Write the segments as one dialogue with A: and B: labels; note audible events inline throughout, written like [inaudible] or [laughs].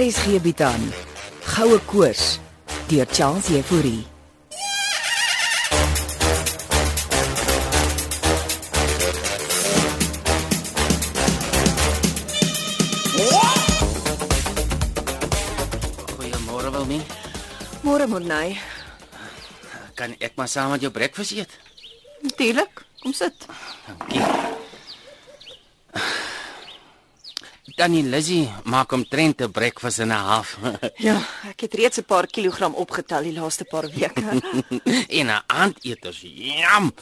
A: RSG bied aan Goue Koors deur Charles Euphorie.
B: Goeiemôre Wilmien.
C: Môre Morney.
B: Kan ek maar saam met jou breakfast eet?
C: Natuurlik. Kom sit.
B: Dankie. Tannie Lizzie maak omtrent 'n breakfast en 'n half [laughs]
C: Ja, ek het reeds 'n paar kilogram opgetel die laaste paar weke.
B: en 'n aandeters. Jam.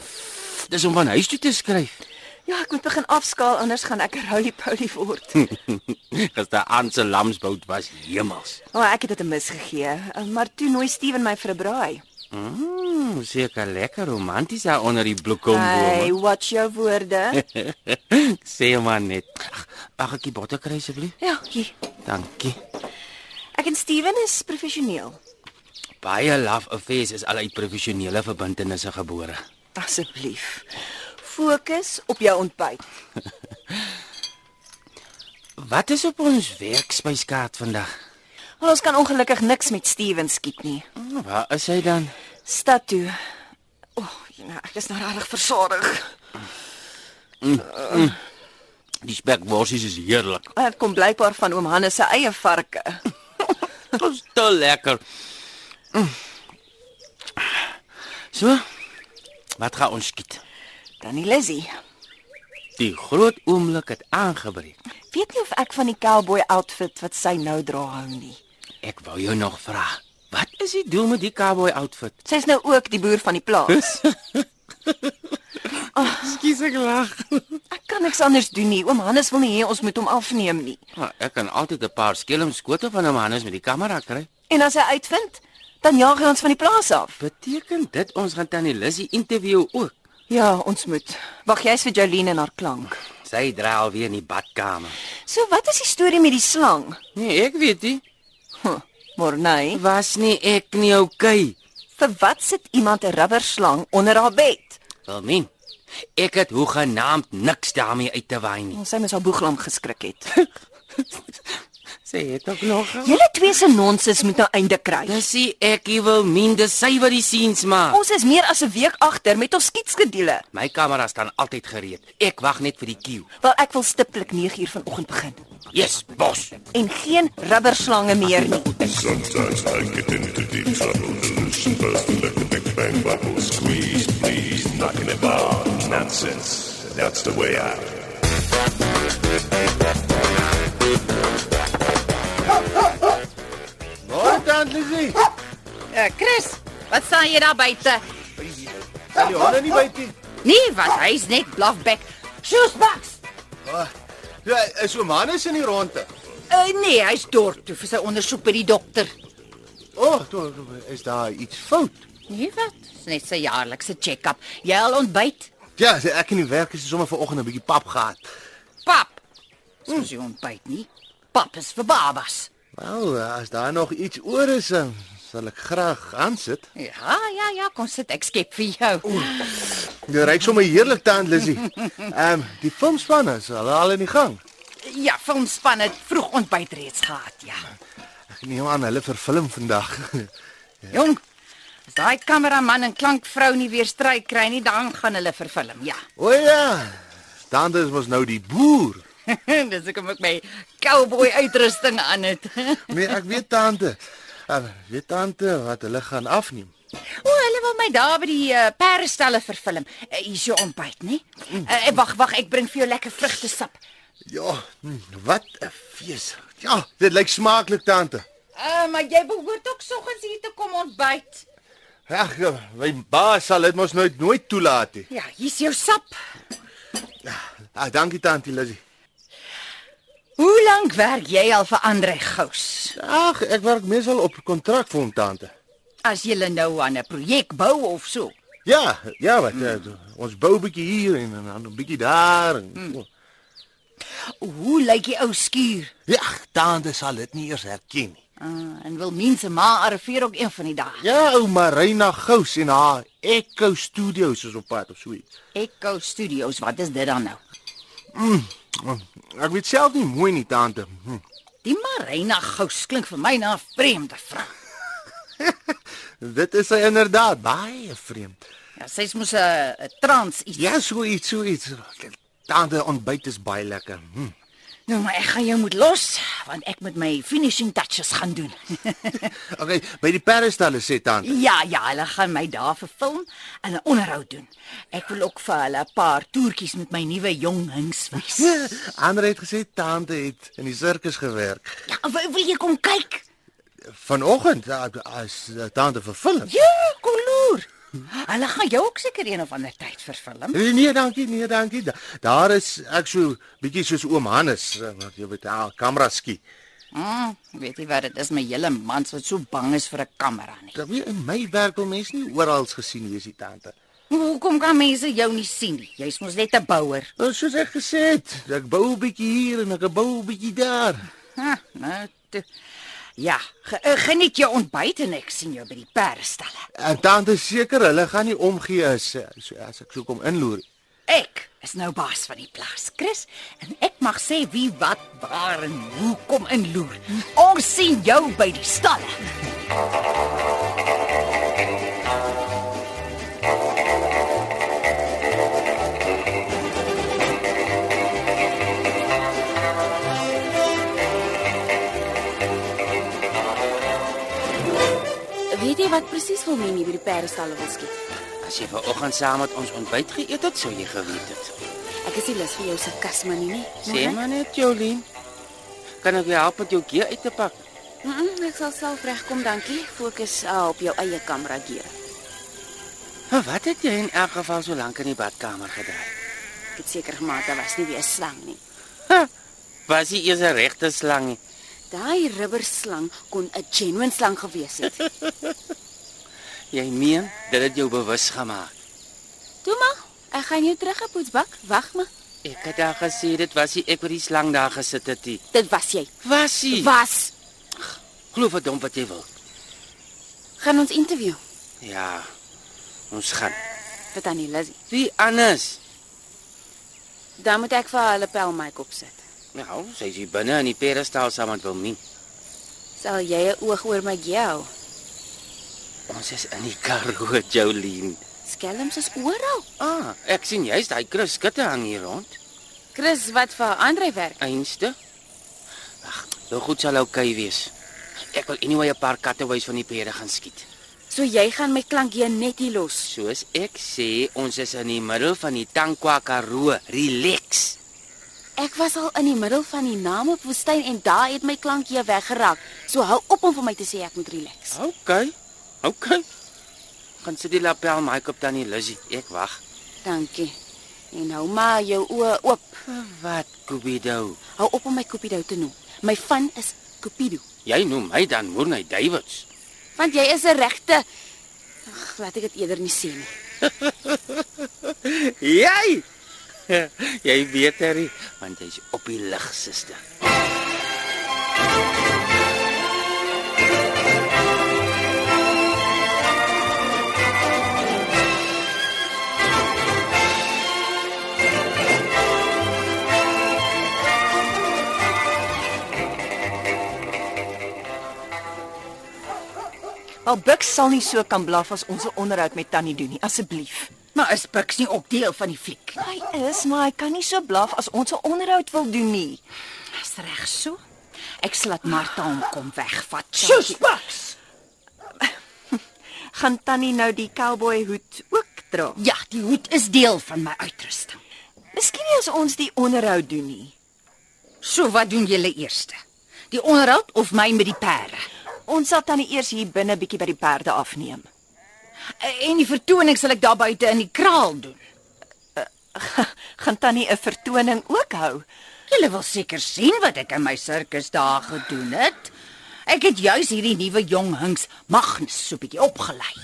B: Dis om van huis toe te skryf.
C: ja, ek moet begin afskaal anders gaan ek roly-poly word.
B: Gisteraand se lamsbout was hemels.
C: O, oh, ek het dit 'n mis gegee, Eh, maar toe nooi Steven my vir 'n braai.
B: Mm, seker lekker romanties daar onder die
C: Hey,
B: bloekombome.
C: watch jou woorde.
B: Ek Sê maar net. Ag, Mag ek die botter kry asseblief?
C: ja, hier.
B: Dankie.
C: Ek en Steven is professioneel.
B: Baie love affairs is al uit professionele verbintenisse gebore.
C: Asseblief. Fokus op jou ontbyt.
B: Wat is op ons werkspyskaart vandag?
C: Want ons kan ongelukkig niks met Steven skiet nie.
B: Hmm, Waar is hy dan?
C: Stad toe. O, oh, nou, ek is nou regtig versadig.
B: Die spekworsies is [laughs] heerlik.
C: Dit kom blykbaar van oom Hannes se eie varke.
B: Dis te lekker. Mm. So. Wat gaan ons skiet?
C: Tannie Lizzie.
B: Die groot oomblik het aangebreek.
C: Weet nie of ek van die cowboy outfit wat sy nou dra hou nie.
B: Ek wou jou nog vra. Wat is die doel met die cowboy outfit?
C: Sy's nou ook die boer van die plaas.
B: Ekskuus ek lag.
C: Ek kan niks anders doen nie. Oom Hannes wil nie hê ons moet hom afneem nie.
B: Maar ek kan altyd 'n paar skelm skote van hom Hannes met die kamera kry.
C: En as hy uitvind, dan jaag hy ons van die plaas af.
B: Beteken dit ons gaan tannie Lissy interview ook?
C: Ja, ons moet. Wag, jy's vir Jolene en haar klank.
B: Sy dra alweer in die badkamer.
C: So wat is die storie met die slang?
B: Nee, ek weet nie.
C: Huh, Morney,
B: Was nie ek nie oukei. Okay.
C: vir wat sit iemand 'n rubberslang onder haar bed?
B: Wilmien, ek het hoegenaamd niks daarmee uit te waai nie.
C: Ons sy mos haar boeglam geskrik het.
B: Sê dit ook nog.
C: Julle twee se nonsens moet nou einde kry.
B: Ja, Dis nie ek nie, Wilmien, dis sy wat die scenes maak.
C: Ons is meer as 'n week agter met ons skiedskedule.
B: My kamera staan altyd gereed. Ek wag net vir die cue.
C: Wel ek wil stiptelik 9uur vanoggend begin
B: Yes, bos.
C: en geen rubberslange meer nie.
D: Sometimes I get into deep trouble, delusion, bursting like a big bang bubble, squeeze, please, knocking about, nonsense. That's the way out.
B: Môre dan Lizzy.
E: Uh, Chris, wat staan jy daar buite?
B: Die honde nie bytie.
E: Nee, wat, hy's net blafbek. Shoesbox.
F: Ah,
B: Ja, is oom Hannes in die ronde.
E: Uh, nee, hy's dorp toe vir sy ondersoek by die dokter.
F: O, oh, is daar iets fout?
E: Nee, wat? Dis net sy jaarlikse check-up. Jy al ontbyt?
F: Ja, ek in die werk is sommer vanoggend 'n bietjie pap gehad.
E: Pap. Soos jy ontbyt nie. Pap is vir babas.
F: Wel, as daar nog iets oor is, eh, sal ek graag aansit.
E: Ja, ja, ja, kom sit, ek skep vir jou.
F: Jy ryk sommer heerlik taan, Lizzy. [laughs] Ehm, um, die filmspan is al, al in die gang.
E: Ja, filmspan het vroeg ontbyt reeds gehad, ja.
F: Ek neem aan hulle verfilm vandag.
E: Jong, as daai kameraman en klankvrou nie weer stryk kry nie, dan gaan hulle verfilm, ja.
F: [laughs]
E: [laughs]
F: o ja. Dan is mos nou die boer.
E: Dis ek met my cowboy uitrusting aan het. [laughs]
F: Nee, ek weet tante. Um, weet tante wat hulle gaan afneem.
E: O, hulle wil my daar by die uh, perdestalle verfilm. Uh, hier is jou ontbyt, nê? Uh, wag, wag, ek bring vir jou lekker vrugtesap.
F: Ja, hm, wat 'n fees. Ja, dit lyk smaaklik tante.
E: Uh, maar jy behoort ook soggens hier te kom ontbyt.
F: Ag, my baas sal dit mos nooit nooit toelaat nie.
E: Ja, hier's jou sap.
F: Ah, dankie tannie Lizzy.
E: Hoe lank werk jy al vir Andre Gous?
F: Ag, ek werk meestal op kontrak vir hom tante.
E: As jy nou aan 'n projek bou of so.
F: Ja, ja, wat mm. ons bou 'n bietjie hier en en dan 'n bietjie daar en mm.
E: Hoe lyk die ou skuur?
F: Ja, tante sal dit nie eers herken nie.
E: Uh, en wil mense maar arriveer ook een van die dae.
F: Ja, ou Marina Gous en haar Echo Studios is op pad of so iets.
E: Echo Studios, wat is dit dan nou?
F: Ek weet self nie mooi nie tante. Hm.
E: Die Marina Gous klink vir my na 'n vreemde vrou.
F: Dit is hy inderdaad baie vreemd.
E: Ja, sy's mos 'n 'n trans iets.
F: Ja, so iets, so iets. Tande ontbyt is baie lekker. Hm.
E: Nou maar ek gaan jou moet los want ek moet my finishing touches gaan doen.
F: Okay, by die perrestalle sê tante.
E: [laughs] ja, ja, hulle gaan my daar vir film en 'n onderhoud doen. Ek wil ook vir hulle 'n paar toertjies met my nuwe jong hings wys.
F: [laughs] Andre het gesê tante het in die sirkus gewerk.
E: [laughs] Ja, wil, wil jy kom kyk?
F: Vanoggend ah, as eh, tante vir film.
E: Ja, kom loer. Hulle gaan jou ook seker een of ander tyd verfilm.
F: Nee, nee, dankie, nee, dankie. Da, daar is ek so bietjie soos oom Hannes eh, wat jy weet, ah, kamera skiet.
E: Mm, weet jy wat dit is met julle mans wat so bang is vir 'n kamera nie.
F: Dat weet in my werk wil mense nie oral gesien wees die tante.
E: Hoekom kan mense jou nie sien nie? Jy's mos net 'n bouer.
F: Nou, Soos ek gesê het, ek bou 'n bietjie hier en ek bou 'n bietjie daar.
E: Ha, nou toe. Ja, ge, eh, geniet jou ontbyt en ek sien jou by die perdestalle.
F: En tante seker, hulle gaan nie omgee as eh, so as ek so kom inloer.
E: Ek is nou baas van die plaas, Chris, en ek mag sê wie wat waar en hoe kom inloer. Ons sien jou by die stalle.
G: Weet jy wat presies wil Minnie by die perdestalle wil skiet?
B: As jy vanoggend saam met ons ontbyt geëet het, sou jy geweet het.
G: Ek is nie lus vir jou sarkasme nie, nie.
B: Sê maar net, Jolien. Kan ek jou help met jou gear uit te pak?
G: Mm -mm, ek sal self regkom, dankie. Fokus ah, op jou eie kamera gear.
B: Maar wat het jy in elk geval so lank in die badkamer gedryf?
G: Ek het seker gemaak daar was nie weer 'n slang nie.
B: Was jy eers 'n regte slang nie?
G: Daai rubberslang kon 'n genuine slang gewees
B: [laughs]
G: het.
B: Jy meen dit het jou bewus gemaak.
G: Toe maar, ek gaan jou terug 'n poetsbak. Wag maar.
B: Ek het daar gesê dit was nie ek wat die slang daar gesit het nie.
G: Dit was jy.
B: Was hy?
G: Was.
B: Glo verdom wat jy wil.
G: Gaan ons interview
B: Ja. Ons gaan.
G: vir Tannie Lizzie.
B: Wie anders?
G: Dan moet ek vir haar hulle pelmyk opsit.
B: Nou, sy is hier binne in die perestaal saam met Wilmien.
G: Sal jy 'n oog oor my gee hou?
B: Ons is in die Karoo, [laughs] Jolien.
G: Skelms is oral.
B: Ah, ek sien jy's daai Chris Skutte hang hier rond.
G: Chris wat vir Andre werk.
B: Einste. Wag, nou goed sal oukei wees. Ek wil anyway 'n paar katte wys van die perde gaan skiet.
G: So jy gaan my klank hier net hier los.
B: Soos ek sê, ons is in die middel van die Tankwa Karoo. Relax.
G: Ek was al in die middel van die naam op woestyn en daar het my klankie weggeraak. So hou op om vir my te sê ek moet relax.
B: Oukei. Oukei. Gaan sit die lapel mic op tannie Lizzie. Ek wag.
G: Dankie. En hou maar jou oë oop.
B: Vir Wat, Kubido?
G: Hou op om my Cupido te noem. My van is Cupido,
B: Jy noem my dan Moerney Davids.
G: want jy is 'n regte Ag, laat ek dit eerder nie sê nie.
B: Jy. [laughs] jy weet Harry, want jy's op die lig, suster.
C: Wel Buk sal nie so kan blaf as ons 'n onderhoud met Tannie doen nie, asseblief.
E: Maar is Bucks nie ook deel van die fliek?
C: Hy is, maar hy kan nie so blaf as ons 'n onderhoud wil doen nie.
E: Dis reg so. Ek sal laat Martha hom kom wegvat.
C: Buks. [laughs] Gaan Tannie nou die cowboy hoed ook dra?
E: Ja, die hoed is deel van my uitrusting.
C: Miskien nie as ons die onderhoud doen nie.
E: So wat doen julle eers? Die onderhoud of my met die perde?
C: Ons sal Tannie eers hier binne bietjie by die perde afneem. Eh,
E: En die vertoning sal ek daar buite in die kraal doen.
C: Eh, [laughs] Gaan Tannie 'n vertoning ook hou?
E: Julle wil seker sien wat ek in my sirkus daar gedoen het. Ek het juis hierdie nuwe jong hings Magnus so bietjie opgelei.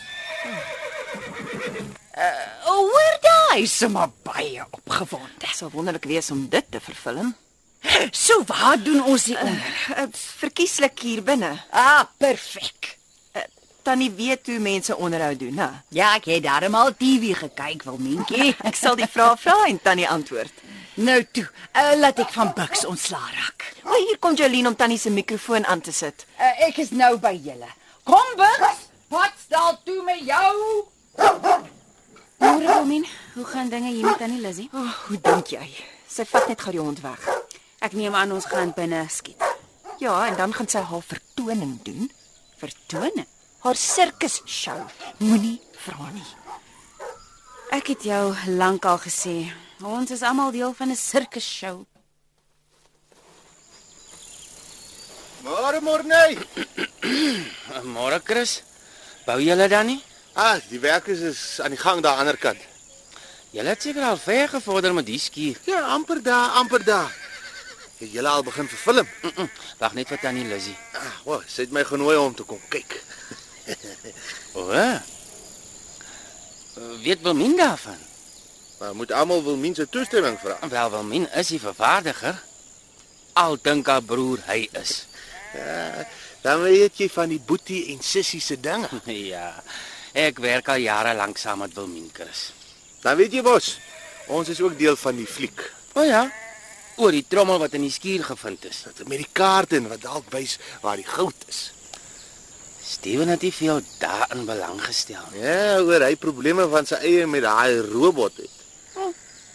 E: Uh, hoor daai, is sommer baie opgewonde.
C: Dit sal wonderlik wees om dit te vervilm.
E: So waar doen ons die onderhoud?
C: Uh, verkieslik hier binne.
E: Ah, perfek.
C: Uh, tannie weet hoe mense onderhoud doen, hè?
E: Ja, ek het darmal TV gekyk, Wilmientjie.
C: [laughs] Ek sal die vrae vra en Tannie antwoord.
E: Nou toe, uh, laat ek van Bucks ontslaa raak.
C: Maar hier kom Jolien om tannie se mikrofoon aan te sit.
E: Uh, ek is nou by julle. Kom Bucks, wat stel toe met jou?
G: Môre Wilmien, hoe gaan dinge hier met Tannie Lizzie?
C: O, oh, hoe dink jy? Sy vat net gou die hond weg.
G: Ek neem aan ons gaan binne skiet.
C: Ja, en dan gaan sy haar vertoning doen.
G: Vertone.
C: Haar sirkus show. Moenie vra nie.
G: Ek het jou lankal gesê, ons is almal deel van 'n sirkusshow.
F: Môre nee. Morney.
B: Eh, Môre Chris, bou julle dan nie?
F: Ah, die werkers is aan die gang daar aan die ander kant.
B: Julle het seker al ver gevorder met die skuur.
F: Ja, amper daar, amper daar. Het julle al begin verfilm?
B: Mm -mm, Wag net vir tannie Lizzie.
F: Ah, wow, sy het my genooi om te kom kyk.
B: O. Oh, weet Wilmin daarvan?
F: Maar moet almal wil mense toestemming vra.
B: Wel, Wilmin is die vervaardiger. Al dink haar broer hy is.
F: Dan weet jy van die boetie en sissie se dinge.
B: ja. Ek werk al jare lank saam met Wilmin Chris.
F: Dan weet jy mos, ons is ook deel van die fliek.
B: O oh, ja. Oor die trommel wat in die skuur gevind is.
F: Dit met die kaarte en wat dalk wys waar die goud is.
B: Steven het nie veel daarin belang gestel nie.
F: Ja, oor hy probleme van sy eie met daai robot het.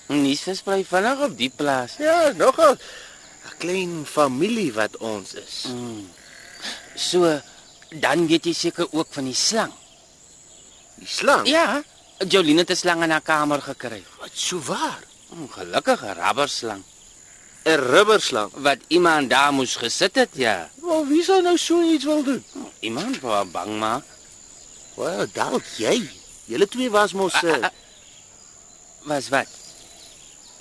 B: Nuus versprei vinnig op die plaas.
F: Ja, nogal 'n klein familie wat ons is.
B: So dan weet jy seker ook van die slang.
F: Die slang.
B: Ja, Jolene het 'n slang in haar kamer gekry.
F: Wat sou waar?
B: Ongelukkige rabberslang
F: 'n Rubberslang.
B: wat iemand daar moes gesit het, ja.
F: Wel, wie sou nou so iets wil doen?
B: Iemand wou haar bang maak.
F: Wel, dalk jy. Julle twee was mos uh,
B: Ah, Was wat?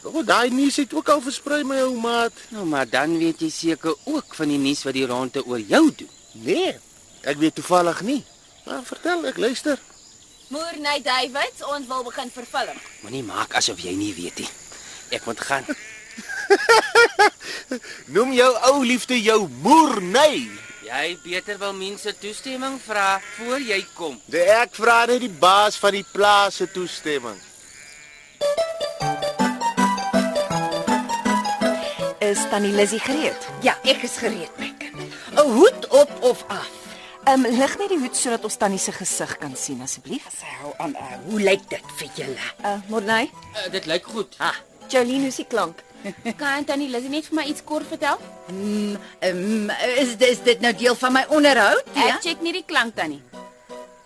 F: oh, daai nuus het ook al versprei my ou maat.
B: Nou maar dan weet jy seker ook van die nuus wat die ronde oor jou doen.
F: Nee, ek weet toevallig nie. Maar vertel, ek luister.
G: Môre nag David, ons wil begin vervilm.
B: Moenie maak asof jy nie weet nie. Ek moet gaan.
F: Noem jou ou liefde jou moerney.
B: [laughs] Jy beter wil mense toestemming vra voor jy kom.
F: De ek vra net die baas van die plaas se toestemming.
C: Is tannie Lizzie gereed?
E: Ja, ek is gereed, my kind. 'n Hoed op of af.
C: Ehm um, lig net die hoed sodat ons tannie se gesig kan sien asseblief.
E: Sy hou aan. Uh, hoe lyk dit vir julle?
C: Uh, Morney,
B: Uh, dit lyk goed.
E: Ha,
C: Jolien, hoe's die klank?
G: Kan Tannie Lizzie net vir my iets kort vertel?
E: mm, um, is, is dit nou deel van my onderhoud?
G: Ek ja? check nie die klank tannie.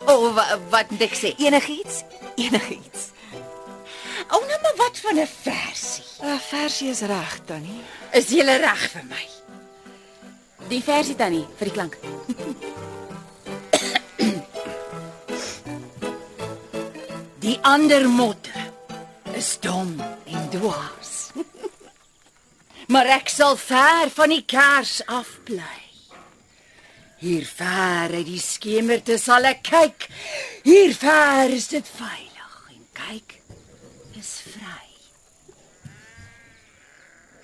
E: O, oh, wat, wat moet ek sê?
C: Enigiets? Enigiets.
E: O, oh, nou maar wat van 'n versie?
C: Uh, versie is reg, tannie.
E: Is jy reg vir my?
G: Die versie tannie vir die klank.
E: Die ander motte is dom en dwaas. [laughs] maar ek sal ver van die kers af bly. Hier ver uit die skemerte sal ek kyk. Hier ver is dit veilig en kyk is vry.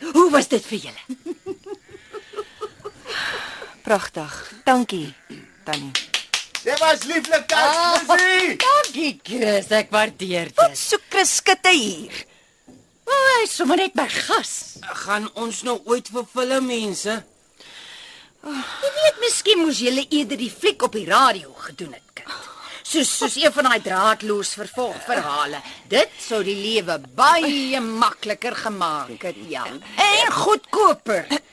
E: Hoe was dit vir julle?
C: Pragtig. Dankie, tannie.
F: Dit was lieflik, Tannie.
E: Dankie, Chris, ek waardeer
C: Wat soek Chris skitte hier?
E: O, oh, hy's sommer net my gas.
B: Gaan ons nou ooit vir film mense?
E: Jy weet, miskien moes jy eerder die fliek op die radio gedoen het, kind. Soos soos een van daai draadloos vervolgverhale. Dit sou die lewe baie makliker gemaak het, ja. En [clears throat] goedkoper. Eh,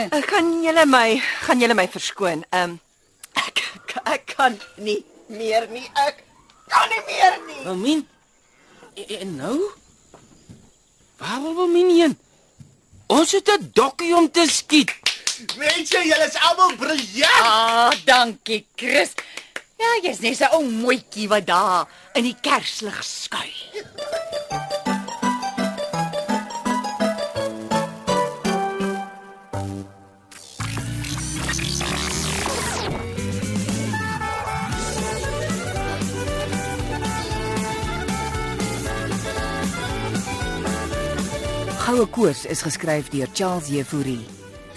C: Uh, gaan julle my, gaan julle my verskoon. Ehm um,
E: Ek ek kan nie meer nie. Ek kan nie meer nie.
B: Wilmien? E- e- En nou? Waar wil Wilmien heen? Ons het 'n dokkie om te skiet.
F: Mense, julle is almal briljant.
E: Ah, dankie, Chris. Ja, jy's net so 'n ou mooietjie wat daar in die kerslig skuil.
A: Goue Koors is geskryf deur Charles Jefouri.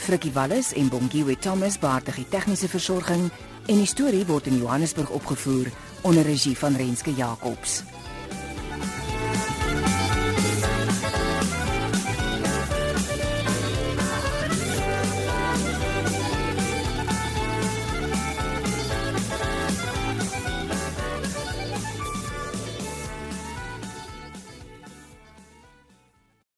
A: Frikkie Wallis en Bongiwe Thomas baartig die tegniese versorging en die storie word in Johannesburg opgevoer onder regie van Renske Jacobs.